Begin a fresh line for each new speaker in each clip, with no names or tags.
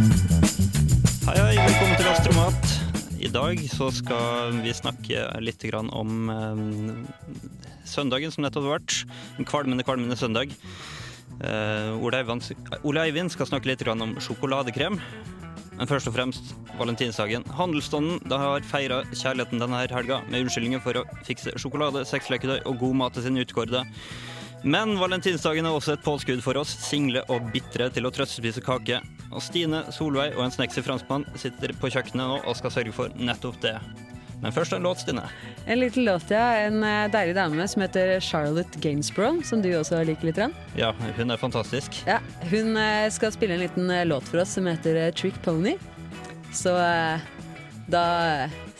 Hei, hei, velkommen til Astromat. I dag så skal vi snakke litt grann om eh, søndagen som nettopp har vært. En kvalmende, kvalmende søndag. Eh, Ole Eivind- Ole Eivind skal snakke litt grann om sjokoladekrem. Men først og fremst valentinsdagen. Handelsstanden da har feira kjærligheten denne her helga med unnskyldninger for å fikse sjokolade, sexleketøy og god mat til sine utkårede. Men valentinsdagen er også et påskudd for oss single og bitre til å trøstespise kake. Og Stine, Solveig og en sneksy franskmann sitter på kjøkkenet nå og skal sørge for nettopp det. Men først en låt, Stine.
En liten låt, ja. En eh, deilig dame som heter Charlotte Gainsborough, som du også liker litt. grann.
Ja, hun er fantastisk.
Ja, hun eh, skal spille en liten eh, låt for oss som heter eh, Trick Pony. Så eh, da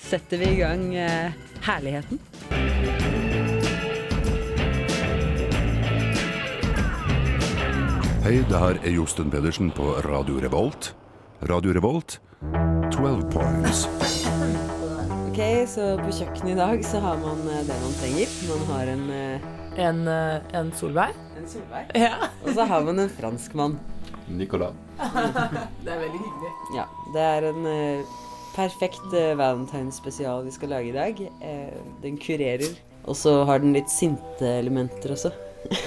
setter vi i gang eh, herligheten.
Hei, det her er Josten Pedersen på Radio Revolt. Radio Revolt, 12 points.
Ok, så på kjøkkenet i dag så har man eh, det man trenger. Man har en,
En, eh, en Solveig?
Solveig.
Ja.
Og så har man en franskmann.
Nicolas.
Det er veldig hyggelig.
Ja, det er en eh, perfekt eh, valentinsspesial vi skal lage i dag. Eh, den kurerer. Og så har den litt sinte elementer også.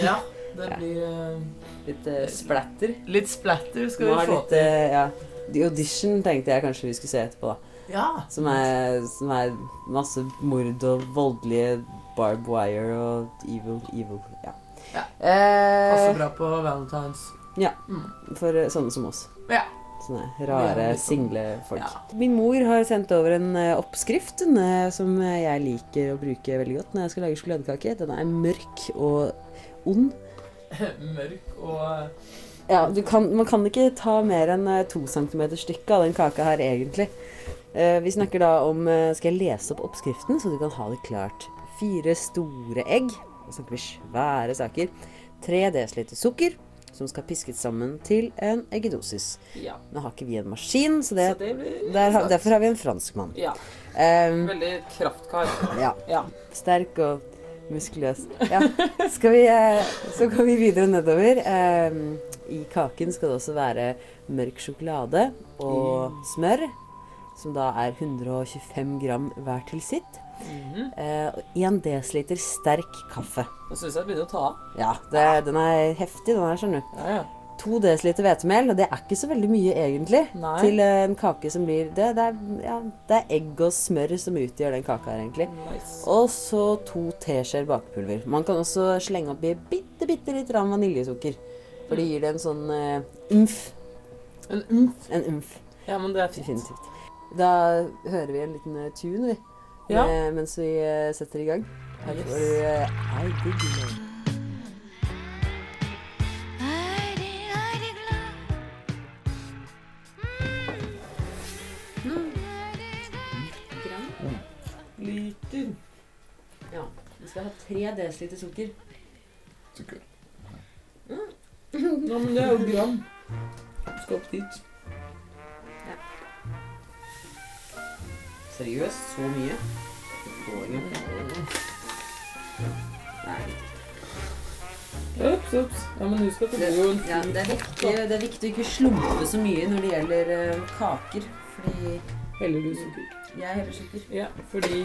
Ja, det blir eh,
Litt eh, splatter.
litt splatter skal
Nå
vi
har
få
litt,
til.
eh, ja. The Audition tenkte jeg kanskje vi skulle se etterpå, da.
Ja.
Som er, som er masse mord og voldelige barb wire og evil, evil. Ja.
Ja. Passer
Eh,
bra på valentines.
for eh, sånne som oss.
Ja.
Sånne rare,
Ja, liksom.
single folk.
Ja.
Min mor har sendt over en eh, oppskrift den, eh, som eh, jeg liker å bruke veldig godt når jeg skal lage sjokoladekake. Den er mørk og ond.
Mørk og eh,
Ja, du kan, man kan ikke ta mer enn eh, to centimeter stykket av den kaka her, egentlig. Eh, vi snakker da om eh, Skal jeg lese opp oppskriften, så du kan ha det klart? Fire store egg. Da snakker vi svære saker. Tre desiliter sukker, som skal piskes sammen til en eggedosis.
Ja.
Nå har ikke vi en maskin, så det,
Så det blir
der har- derfor har vi en franskmann.
Ja.
Ehm,
Veldig kraftkar.
ja.
Ja.
Sterk og muskuløs. Ja. Skal vi, eh, så går vi videre nedover. Ehm, I kaken skal det også være mørk sjokolade og smør, som da er 125 gram hver til sitt.
Mhm.
Eh, Og 1 dl sterk kaffe.
Nå syns jeg det begynner å ta av.
Ja, det, den er heftig, den her, skjønner du.
Ja, ja.
2 dl hvetemel, og det er ikke så veldig mye egentlig.
Nei.
Til eh, en kake som blir det, det, er, ja, det er egg og smør som utgjør den kaka her, egentlig.
Nice.
Og så to teskjeer bakepulver. Man kan også slenge oppi bitte, bitte litt rann vaniljesukker. For det gir det en sånn eh, umf.
Men, mm,
En umf,
ja, men det er fint.
definitivt. Da hører vi en liten eh, tune, vi.
Ja.
eh, mens vi eh, setter i gang. Her
Yes.
får du eh, I Dig Love. Mm.
Liter.
Ja. Vi skal ha tre desiliter sukker.
Sukker.
Ja, men det er jo gram. Du skal opp dit.
Seriøst? Så mye?
Ups, ups. Ja, men husk at det blir jo en
Ja, det, er viktig, det er viktig å ikke slumpe så mye når det gjelder eh, kaker. Fordi
Heller du sukker.
jeg heller sukker.
Ja, fordi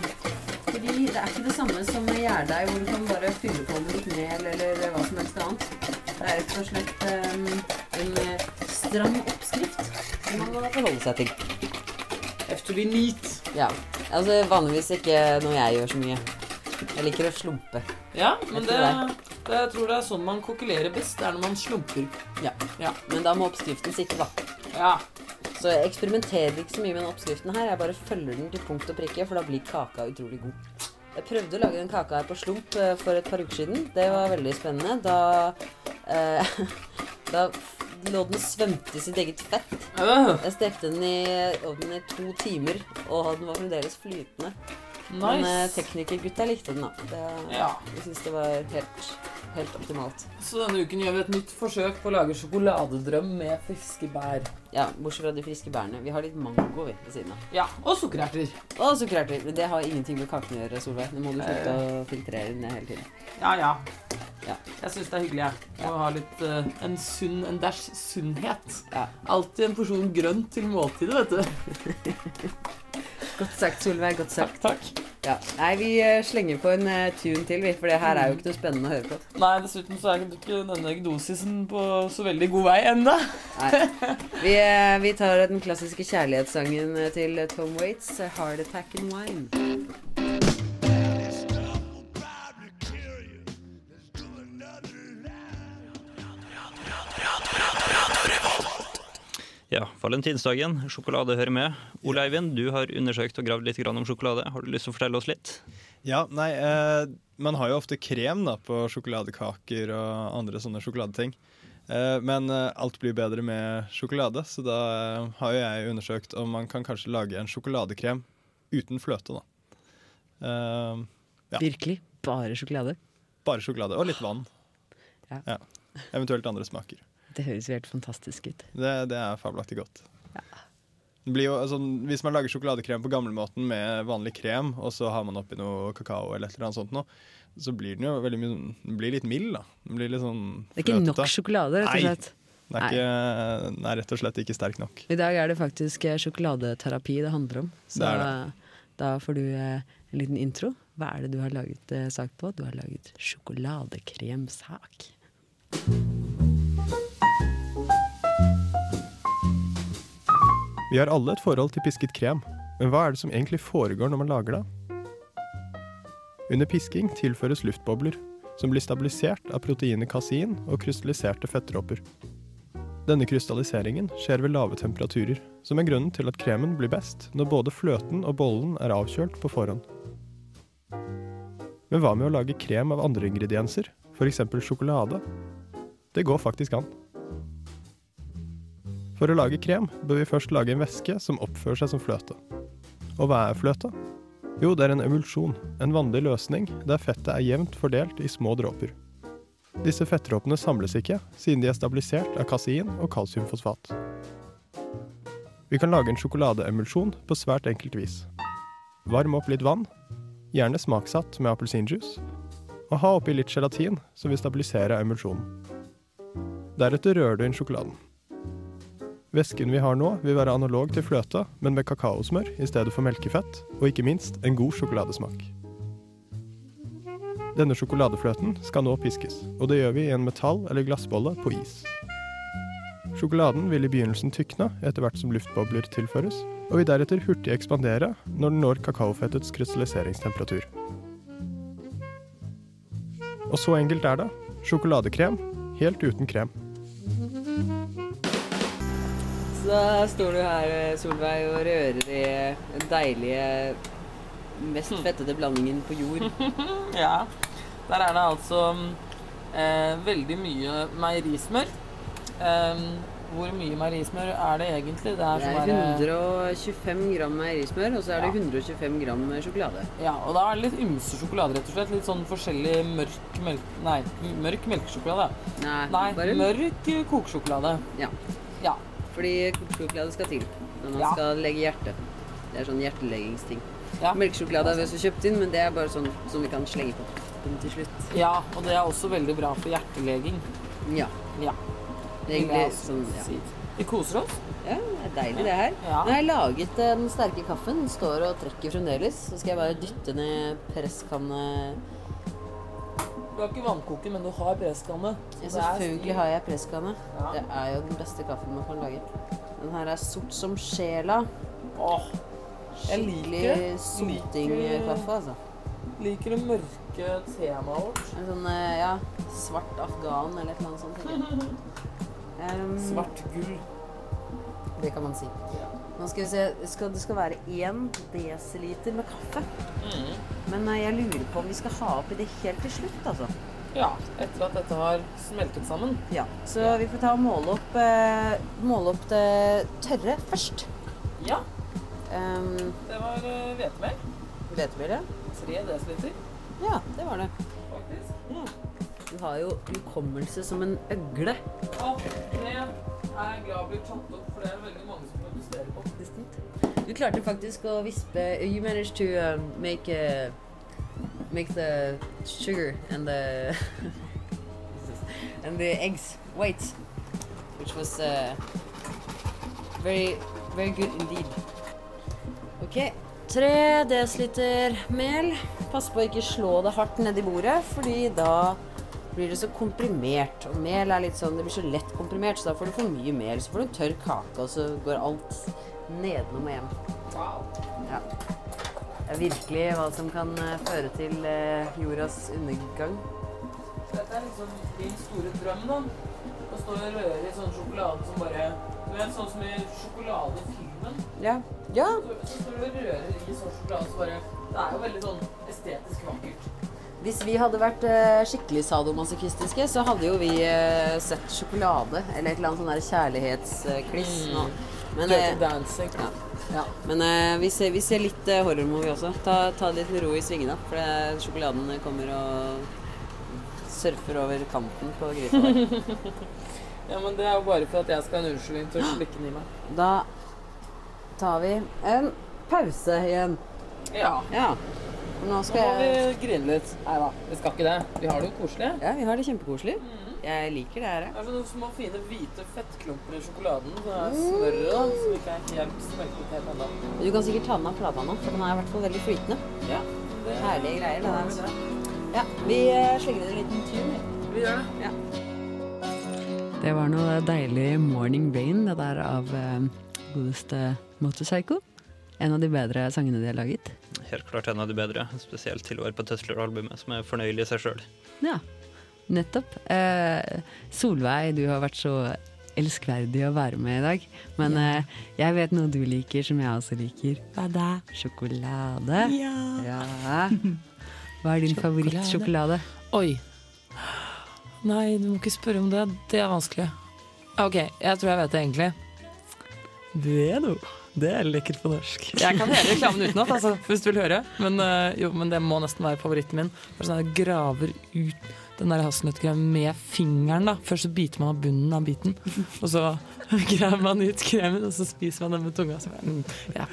Fordi det er ikke det samme som med gjærdeig, hvor du kan bare fylle på med litt mel eller hva som helst annet. Det er rett og slett eh, en eh, stram oppskrift som man må forholde seg til.
Efter vi nit.
Ja. Altså vanligvis ikke når jeg gjør så mye. Jeg liker å slumpe.
Ja, men
Jeg
det,
tror
det, jeg tror det er sånn man kokulerer best. Det er når man slumper.
Men da må oppskriften sitte, da.
Ja.
Så jeg eksperimenterer ikke så mye med den oppskriften her. Jeg bare følger den til punkt og prikke, for da blir kaka utrolig god. Jeg prøvde å lage den kaka her på slump eh, for et par uker siden. Det var veldig spennende. Da, eh, da f- lå den og svømte i sitt eget fett.
Øh,
Jeg stekte den i ovnen i to timer, og den var fremdeles flytende. Men eh,
nice.
teknikergutta likte den, da. Det,
Ja.
Jeg syns det var helt, helt optimalt.
Så denne uken gjør vi et nytt forsøk på å lage sjokoladedrøm med friske bær.
Ja, Bortsett fra de friske bærene. Vi har litt mango vi, ved siden av.
Ja, og sukkererter.
Og Eh. sukkererter. Men det har ingenting med kakene å gjøre, Solveig. Nå må du slutte å filtrere den ned hele tiden.
Ja, ja.
Ja.
Jeg syns det er hyggelig, jeg. Å ha litt eh, en sunn En dash sunnhet.
Ja.
Alltid en porsjon grønt til måltidet, vet du.
Godt sagt, Solveig. Godt sagt.
Takk, takk.
Ja. Nei, vi eh, slenger på en eh, tune til, vi, for det her er jo ikke noe spennende å høre på.
Nei, dessuten så er ikke denne dosisen på så veldig god vei ennå.
Vi, eh, vi tar den klassiske kjærlighetssangen eh, til Tom Waits, eh, 'Heart Attack and Wine'.
Ja, valentinsdagen. Sjokolade hører med. Ole Eivind, du har undersøkt og gravd litt grann om sjokolade. Har du lyst til å fortelle oss litt?
Ja, nei, eh, man har jo ofte krem da, på sjokoladekaker og andre sånne sjokoladeting. Eh, men eh, alt blir bedre med sjokolade, så da eh, har jo jeg undersøkt om man kan kanskje lage en sjokoladekrem uten fløte. da. Eh, Ja.
Virkelig. Bare sjokolade.
bare sjokolade og litt vann.
Ja.
Eventuelt andre smaker.
Det høres jo helt fantastisk ut.
Det, det er fabelaktig godt. Det blir jo, altså, hvis man lager sjokoladekrem på gamlemåten med vanlig krem, og så har man oppi noe kakao eller et eller annet sånt noe, så blir den jo veldig mye sånn- Den blir litt mild, da. Den blir litt sånn
Det er ikke nok
fløtete.
sjokolade, rett og
Nei.
slett.
Den er, ikke, den er rett og slett ikke sterk nok.
I dag er det faktisk eh, sjokoladeterapi det handler om. Så
Det er
eh, da får du eh, en liten intro. Hva er det du har laget eh, sak på? Du har laget sjokoladekremsak.
Vi har alle et forhold til pisket krem, men hva er det som egentlig foregår når man lager det? Under pisking tilføres luftbobler, som blir stabilisert av proteinet kasein og krystalliserte fettdråper. Denne krystalliseringen skjer ved lave temperaturer, som er grunnen til at kremen blir best når både fløten og bollen er avkjølt på forhånd. Men hva med å lage krem av andre ingredienser, f.eks. sjokolade? Det går faktisk an. For å lage krem bør vi først lage en væske som oppfører seg som fløte. Og hva er fløte? Jo, det er en emulsjon, en vanlig løsning der fettet er jevnt fordelt i små dråper. Disse fettdråpene samles ikke, siden de er stabilisert av kasein og kalsiumfosfat. Vi kan lage en sjokoladeemulsjon på svært enkelt vis. Varm opp litt vann, gjerne smaksatt med appelsinjuice, og ha oppi litt gelatin som vil stabilisere emulsjonen. Deretter rører du inn sjokoladen. Væsken vi har nå, vil være analog til fløte, men med kakaosmør i stedet for melkefett, og ikke minst en god sjokoladesmak. Denne sjokoladefløten skal nå piskes, og det gjør vi i en metall- eller glassbolle på is. Sjokoladen vil i begynnelsen tykne etter hvert som luftbobler tilføres, og vil deretter hurtig ekspandere når den når kakaofettets krystalliseringstemperatur. Og så enkelt er det. Sjokoladekrem helt uten krem.
Så da står du her, eh, Solveig, og rører i eh, den deilige, mest
Hmm.
fettete blandingen på jord.
Ja. Der er det altså eh, veldig mye meierismør. Eh, hvor mye meierismør er det egentlig? Det er,
Det
sånn
er
der, eh,
125 gram meierismør, og så er det
Ja.
125 gram sjokolade.
Ja, og da er det litt ymse sjokolade, rett og slett. Litt sånn forskjellig mørk melk... Nei, mørk melkesjokolade.
Nei,
Nei,
bare
mørk kokesjokolade.
Ja.
Ja.
Fordi kokesjokolade skal til når man
Ja.
skal legge hjerte. Det er sånn hjerteleggingsting.
Ja.
Melkesjokolade har vi også kjøpt inn, men det er bare sånn som vi kan slenge på toppen til slutt.
ja, og det er også veldig bra for hjerteleging.
Ja.
Ja.
Det er
vil jeg
egentlig
også
sånn, ja.
si. Vi koser oss.
ja, det er deilig det her.
Ja.
Nå har jeg laget eh, den sterke kaffen. Den står og trekker fremdeles. Så skal jeg bare dytte ned presskanne...
Du har ikke vannkoker, men du har presskanne. Så
Ja,
det er-
selvfølgelig har jeg presskanne.
Ja.
Det er jo den beste kaffen man kan lage. Den her er sort som sjela.
Åh, Jeg liker det.
Skikkelig sotingkaffe, altså.
liker det mørke temaet vårt.
En sånn eh, ja, svart afghan eller et eller annet sånt. tenker jeg. Em,
Svart gull.
Det kan man si. Nå skal vi se, skal, Det skal være én desiliter med kaffe. Men eh, jeg lurer på om vi skal ha oppi det helt til slutt, altså.
Ja, etter at dette har smeltet sammen.
Ja, Så vi får ta og måle opp, eh, måle opp det tørre først.
Ja,
Um,
det var eh, hvetemel.
Hvetemel, ja.
3 dl,
Ja, det var det.
faktisk.
Du har jo hukommelse som en øgle.
Og det er jeg glad blir tatt opp, for det er veldig mange som protesterer på.
Du klarte faktisk å vispe You managed to um, make uh, Make the sugar and the and the eggs white, which was uh, very, very good indeed. Ok, 3 dl mel. Pass på å ikke slå det hardt nedi bordet, fordi da blir det så komprimert. Og mel er litt sånn, det blir så lett komprimert, så da får du for mye mel. Så får du en tørr kake, og så går alt nedenom og hjem. Ja. Det er virkelig hva som kan eh, føre til eh, jordas undergang.
Dette er liksom din store drøm, da. Å stå og røre i sånn sjokolade som bare Du vet, sånn som i sjokoladefilmen.
Ja. ja.
Så, så står du og rører i sånn sjokolade som bare Det er jo veldig sånn estetisk vakkert.
Hvis vi hadde vært eh, skikkelig sadomasochistiske, så hadde jo vi eh, sett sjokolade eller et eller annet sånn der kjærlighetskliss nå. Men, eh,
Dirty dancing.
ja, ja. Men eh, vi, ser, vi ser litt eh, horrormovie også. Ta, ta det litt med ro i svingene, for det, sjokoladen kommer og surfer over kanten på gryta. der.
Ja, men det er jo bare for at jeg skal ha en unnskyldning til å slikke den i meg.
Da tar vi en pause igjen.
Ja.
Ja. For Nå
Nå må
skal
vi
jeg
grine litt. Nei da, vi skal ikke det. Vi har det jo koselig.
Ja, vi har det kjempekoselig.
Mm.
Jeg liker det her. jeg.
Det er sånne små, fine hvite fettklumper i sjokoladen. Det er smøret da, som ikke er helt smeltet helt ennå.
Du kan sikkert ta med deg plata nå, for den er i hvert fall veldig flytende.
Ja, det
Herlige greier, det der.
det.
Ja, vi eh, slenger ut en liten tur. vi.
Vi gjør det.
Det var noe deilig Morning Rain, det der av eh, godeste Motorcycle. En av de bedre sangene de har laget.
Helt klart en av de bedre, spesielt til å være på Tøsler-albumet, som er fornøyelig i seg sjøl.
Ja, nettopp. Eh, Solveig, du har vært så elskverdig å være med i dag. Men eh, jeg vet noe du liker som jeg også liker. Hva da? Sjokolade. Ja. Hva er din favorittsjokolade?
Oi. Nei, du må ikke spørre om det. Det er vanskelig. OK, jeg tror jeg vet det egentlig. Bueno. Det er lekkert på norsk. Jeg kan hele reklamen utenat, altså, hvis du vil høre. Men, eh, jo, men det må nesten være favoritten min. Det er sånn at jeg graver ut den der hasselnøttgreia med fingeren. da. Først så biter man av bunnen av biten, og så graver man ut kremen, og så spiser man den med tunga. Så, mm, ja.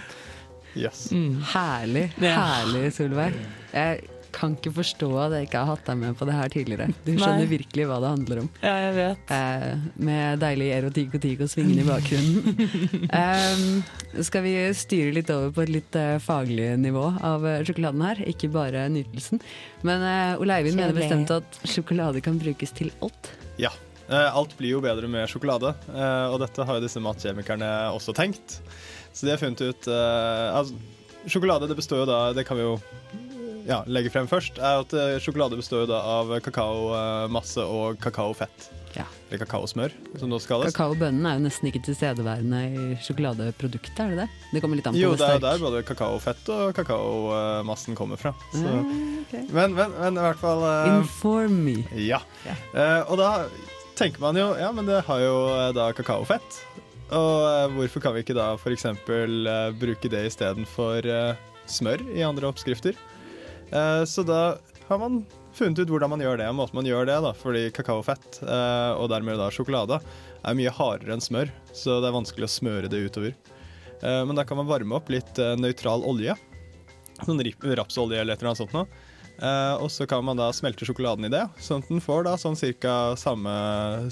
Yes.
mm.
Herlig,
Ja.
herlig, Solveig. Jeg kan ikke forstå at jeg ikke har hatt deg med på det her tidligere. Du skjønner virkelig hva det handler om.
ja, jeg vet.
Eh, med deilig erotikk og tikk og svingende i bakgrunnen. Eh, skal vi styre litt over på et litt eh, faglig nivå av eh, sjokoladen her, ikke bare nytelsen. Men eh, Ole Eivind mener bestemt at sjokolade kan brukes til alt.
Ja. Eh, Alt blir jo bedre med sjokolade, eh, og dette har jo disse matkjemikerne også tenkt. Så de har funnet ut eh, altså, Sjokolade det består jo da Det kan vi jo ja, legge frem først. er at eh, Sjokolade består jo da av kakaomasse og kakaofett.
Ja.
Eller kakaosmør, som nå skal kalles.
Kakaobønnen er jo nesten ikke tilstedeværende i sjokoladeproduktet, er det det? Det kommer litt an på
Jo,
hvor
det er jo
sterk
der både kakaofett og kakaomassen kommer fra. Så. Men, men, men i hvert fall eh,
Inform me.
Ja. Eh, og da tenker man jo Ja, men det har jo eh, da kakaofett. Og eh, hvorfor kan vi ikke da f.eks. Uh, bruke det istedenfor uh, smør i andre oppskrifter? Eh, så da har man funnet ut hvordan man gjør det. og Måten man gjør det da, Fordi kakaofett, eh, og dermed da sjokolade, er mye hardere enn smør. Så det er vanskelig å smøre det utover. Eh, men da kan man varme opp litt eh, nøytral olje. Sånn rip- rapsolje eller et eller annet sånt noe. Eh, og så kan man da smelte sjokoladen i det, sånn at den får da sånn cirka samme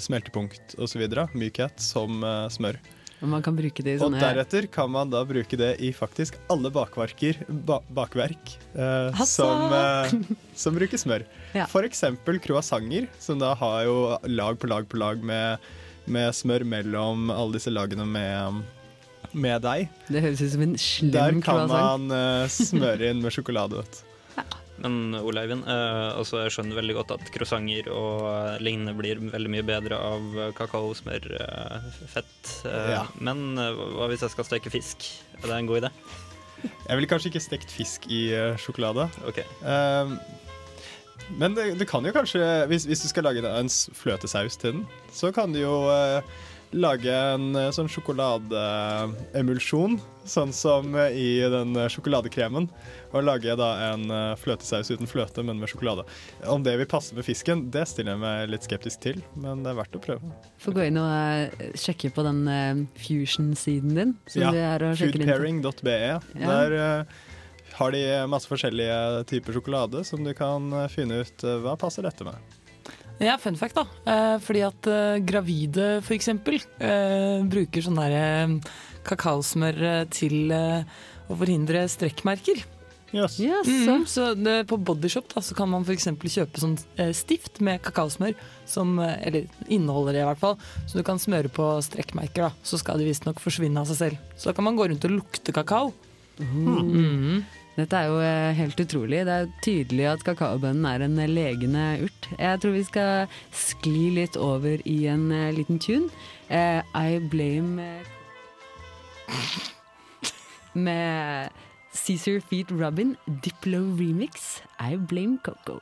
smeltepunkt og så videre, mykhet, som eh, smør.
Og man kan bruke det i
Og
sånne
deretter kan man da bruke det i faktisk alle bakverker, ba bakverk eh,
Altså!
som, eh, som bruker smør.
Ja.
For eksempel croissanter, som da har jo lag på lag på lag med, med smør mellom alle disse lagene med, med deig.
Det høres ut som en
Der
slem
kan
croissant.
man eh, smøre inn med sjokolade. vet du.
Men Ole Eivind, eh, altså jeg skjønner veldig godt at croissanter og eh, lignende blir veldig mye bedre av eh, kakao, smør, eh, fett. Eh,
Ja.
Men eh, hva hvis jeg skal steke fisk? Er det en god idé?
Jeg ville kanskje ikke stekt fisk i eh, sjokolade.
Ok.
Ehm, men det, du kan jo kanskje, hvis, hvis du skal lage en s- fløtesaus til den, så kan du jo eh, lage en eh, sånn sjokoladeemulsjon, sånn som eh, i den eh, sjokoladekremen, og lage da en eh, fløtesaus uten fløte, men med sjokolade. Om det vil passe med fisken, det stiller jeg meg litt skeptisk til, men det er verdt å prøve.
Få gå inn og eh, sjekke på den eh, fusion-siden din. Som
Ja,
du er og sjekker inn på.
Foodpairing.be. Der eh, har de masse forskjellige typer sjokolade som du kan eh, finne ut eh, hva passer dette med.
Ja, fun fact, da. Eh, fordi at eh, gravide, for eksempel, eh, bruker sånn derre eh, kakaosmør eh, til eh, å forhindre strekkmerker.
Yes.
Ja, så.
Mm, så det, på Bodyshop da, så kan man f.eks. kjøpe sånn eh, stift med kakaosmør, som, eh, eller inneholder det i hvert fall, så du kan smøre på strekkmerker. da, Så skal de visstnok forsvinne av seg selv. Så da kan man gå rundt og lukte kakao. Mhm.
Dette er jo eh, helt utrolig. Det er jo tydelig at kakaobønnen er en eh, legende urt. Jeg tror vi skal skli litt over i en eh, liten tune. Eh, I blame eh, Med Cæsar Feet Robin, Diplo remix. I blame Coco.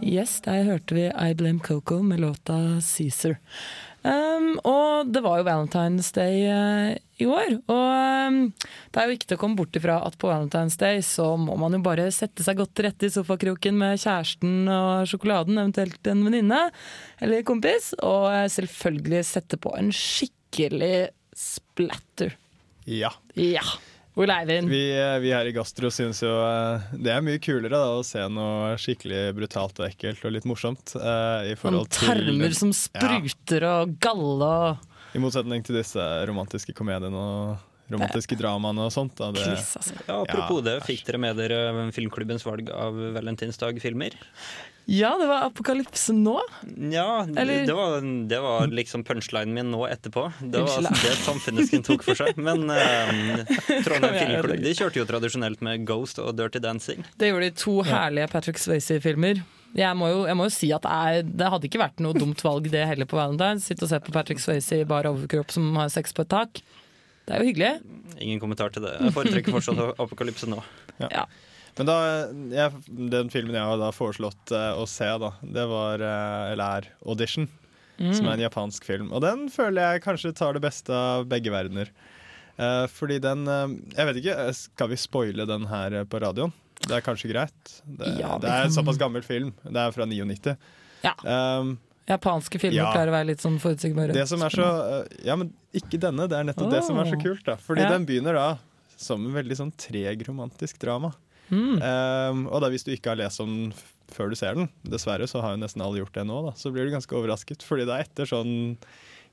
Yes, der hørte vi I Blame Coco med låta Caesar. Um, og det var jo Valentine's Day eh, i år. Og um, det er jo ikke til å komme bort ifra at på Valentine's Day så må man jo bare sette seg godt til rette i sofakroken med kjæresten og sjokoladen, eventuelt en venninne eller kompis, og eh, selvfølgelig sette på en skikkelig splatter.
Ja.
Ja. Ole Eivind.
Vi, eh, vi her i Gastro syns jo eh, det er mye kulere da, å se noe skikkelig brutalt og ekkelt og litt morsomt. eh, I
Noen
forhold
tarmer
til
som spruter og galle og
I motsetning til disse romantiske komediene og romantiske dramaene og sånt. Da, det,
kliss, altså.
Ja, apropos det, fikk dere med dere filmklubbens valg av valentinsdag-filmer?
Ja, det var apokalypse nå.
Ja,
Eller-
det, var, det var liksom punchlinen min nå etterpå. Det var
Unnskyld.
det samfunnsken tok for seg. Men eh, Trondheim
jeg
Filmklubb
ødelegge?
de kjørte jo tradisjonelt med Ghost og Dirty Dancing.
Det gjorde de to herlige Patrick Swayze-filmer. Jeg, må jo- jeg må jo si at det, er, det hadde ikke vært noe dumt valg det heller på Valentine's. Sitte og se på Patrick Swayze i bar overkropp som har sex på et tak. Det er jo hyggelig.
Ingen kommentar til det. Jeg foretrekker fortsatt Apokalypse nå.
Men da, jeg, den filmen jeg har da foreslått eh, å se, da, det var eh, eller er Audition.
Mm.
Som er en japansk film. Og den føler jeg kanskje tar det beste av begge verdener. Eh, fordi den eh, Jeg vet ikke, eh, skal vi spoile den her eh, på radioen? Det er kanskje greit? Det,
Ja, vi
det er en såpass gammel film. Det er fra 99.
Ja.
Um,
Japanske filmer
Ja.
pleier å være litt sånn forutsigbare.
det som er så eh, Ja, men ikke denne. Det er nettopp det som er så
Åh.
kult. da Fordi
Ja.
den begynner da som en veldig sånn treg romantisk drama.
Hmm.
Eh, og da hvis du ikke har lest om den f- før du ser den, dessverre så har jo nesten alle gjort det nå, da så blir du ganske overrasket. Fordi det er etter sånn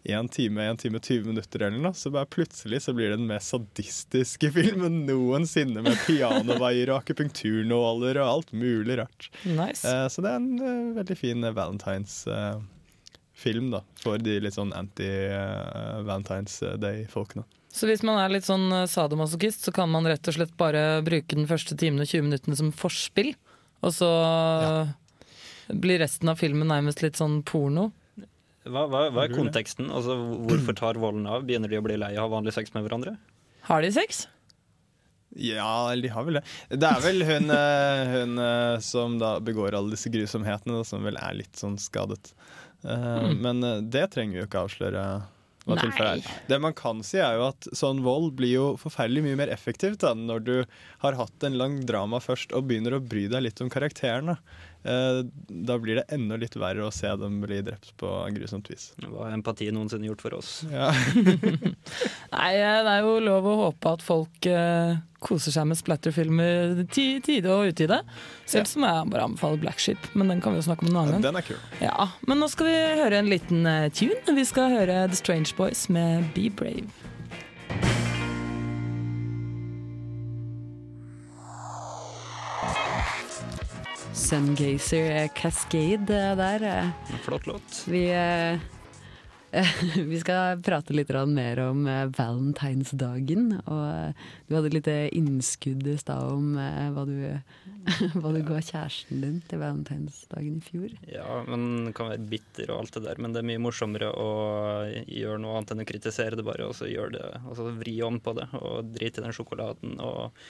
en time, en time 20 minutter eller noe, så bare plutselig så blir det den mest sadistiske filmen noensinne. Med pianovaier og akupunkturnåler og alt mulig rart.
Nice.
Eh, Så det er en eh, veldig fin valentinsfilm, da. For de litt sånn anti-Valentine's eh, Day-folkene.
Så hvis man er litt sånn eh, sadomasochist, så kan man rett og slett bare bruke den første timen og 20 minuttene som forspill, og så blir resten av filmen nærmest litt sånn porno.
Hva, hva, hva er konteksten? Altså, hvorfor tar volden av? Begynner de å bli lei av å ha vanlig sex med hverandre?
Har de sex?
Ja, eller de har vel det. Det er vel hun, eh, hun eh, som da begår alle disse grusomhetene, da, som vel er litt sånn skadet. Eh, Men eh, det trenger vi jo ikke avsløre. Hva tilfellet er. Det man kan si er jo at sånn vold blir jo forferdelig mye mer effektivt da, når du har hatt en lang drama først og begynner å bry deg litt om karakterene. Eh, Da blir det enda litt verre å se dem bli drept på grusomt vis.
Hva har empati noensinne gjort for oss?
Ja.
Nei, eh, det er jo lov å håpe at folk eh, koser seg med splatterfilmer ti, tide og utide. Selv som jeg bare anbefaler Black Sheep, men den kan vi jo snakke om en annen gang.
Den er kul.
Ja, men nå skal vi høre en liten eh, tune. Vi skal høre The Strange Boys med Be Brave.
Sungazer eh, Cascade eh, der. eh.
En flott låt.
Vi, eh, vi skal prate litt grann mer om eh, valentinsdagen. Og eh, du hadde et lite innskudd i stad om eh, hva du, hva du ga kjæresten din til valentinsdagen i fjor.
Ja, man kan være bitter og alt det der, men det er mye morsommere å gjøre noe annet enn å kritisere det bare, og så gjøre det, og så vri om på det, og drite i den sjokoladen og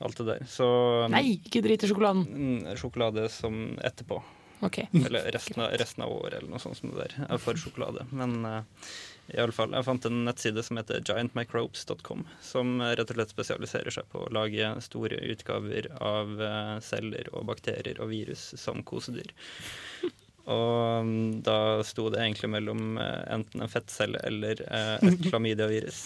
alt det der. Så
Nei, ikke drit i sjokoladen.
mm, Sjokolade som etterpå,
Ok.
eller resten av, resten av året, eller noe sånt som det der. Jeg er for sjokolade. Men uh, iallfall, jeg fant en nettside som heter giantmicrobes.com, som eh, rett og slett spesialiserer seg på å lage store utgaver av eh, celler og bakterier og virus som kosedyr. Og mm, da sto det egentlig mellom eh, enten en fettcelle eller eh, et klamydiavirus.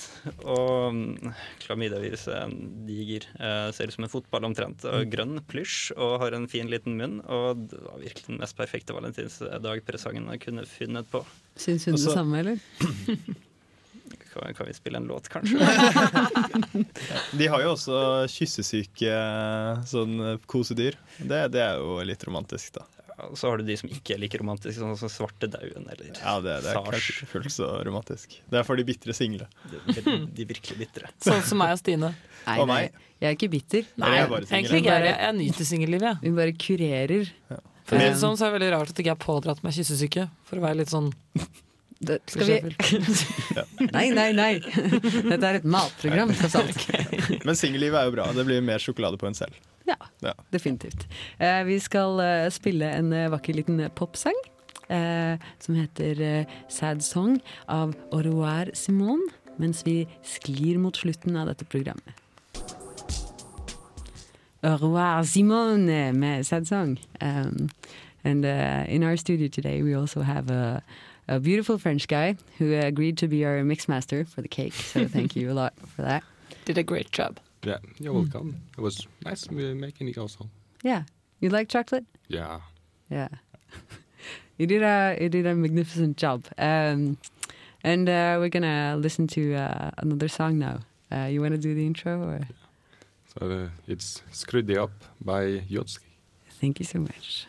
Og mm, klamydiaviruset er en diger. eh, Ser ut som en fotball omtrent.
Mm.
Og grønn plysj og har en fin liten munn. Og det var virkelig den mest perfekte valentinsdagpresangen jeg kunne funnet på.
Syns hun
Og så-
det samme, eller?
Kan, kan vi spille en låt, kanskje?
De har jo også kyssesyke sånn
eh,
kosedyr. Det, det er jo litt romantisk, da.
Og så har du de som ikke er like romantiske, sånn som Svartedauden eller
Ja, det, det er
Sars.
kanskje ikke fullt så romantisk. Det er for de bitre single.
De, de, de virkelig bitre.
Sånn som meg og Stine.
Nei,
Og
nei.
meg.
Jeg er ikke bitter.
Nei, jeg er bare single.
egentlig ikke. Jeg, jeg, jeg nyter singellivet, jeg.
Hun bare kurerer.
For å si det sånn, så er det veldig rart at jeg ikke har pådratt meg kyssesyke. For å være litt sånn
Det, skal vi Nei, nei, nei! Dette er et matprogram, tross alt.
Men singellivet er jo bra. Det blir mer sjokolade på en selv.
Ja,
Ja.
definitivt. Eh, vi skal eh, spille en eh, vakker liten popsang. Eh, som heter eh, Sad Song av Auroir Simone. Mens vi sklir mot slutten av dette programmet. Auroir Simone eh, med Sad Song. Um, and uh, in our studio today, we also have a, a beautiful French guy who agreed to be our mix master for the cake. So thank you a lot for that.
Did a great job.
Yeah, you're welcome. It was nice uh, making it also.
Yeah. You like chocolate?
Yeah.
Yeah. you did a you did a magnificent job. Um, and uh, we're gonna listen to uh, another song now. Uh, you wanna do the intro or
So uh, it's Screwed Up by Jodski.
thank you so much.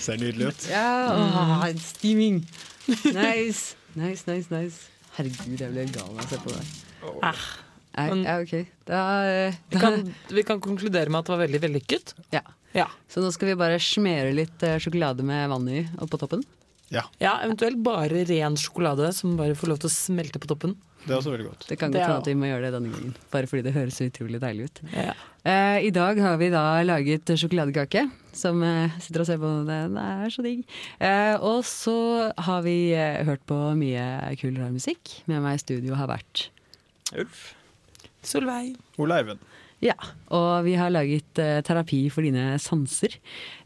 Ser nydelig ut.
Ja, åh, it's steaming. Mm-hmm. Nice. nice, nice, nice. Herregud, jeg ble gal av å se på det.
Oh.
Nei,
Men-
ja, ok. Ah, Da, eh,
Vi kan, vi kan konkludere med at det var veldig vellykket.
ja.
Ja.
Så nå skal vi bare smere litt eh, sjokolade med vann i oppå toppen.
ja, eventuelt bare ren sjokolade som bare får lov til å smelte på toppen.
Det er også veldig godt.
Det kan
Det
godt
er
hende
jo-
at vi må gjøre det denne gangen. Bare fordi det høres så utrolig deilig ut.
Ja.
Eh, I dag har vi da laget sjokoladekake, som eh, sitter og ser på den. Det er så digg. Eh, og så har vi eh, hørt på mye kul, rar musikk. Med meg i studio har vært
Ulf?
Solveig.
Ole Eivind.
Ja. Og vi har laget eh, terapi for dine sanser.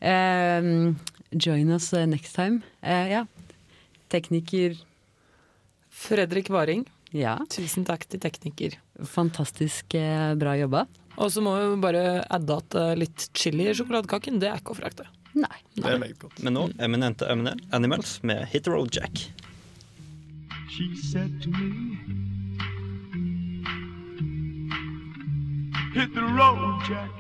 Eh, join us eh, next time. Eh, ja. Tekniker
Fredrik Varing.
Ja.
Tusen takk til tekniker.
Fantastisk eh, bra jobba.
Og så må vi bare adde at eh, litt chili i sjokoladekaken, det er ikke å frakte.
Nei.
Det er meget godt.
Men nå Eminente Eminel- Animals med Hit the Road Jack.
she said to me. Hit the road, Jack.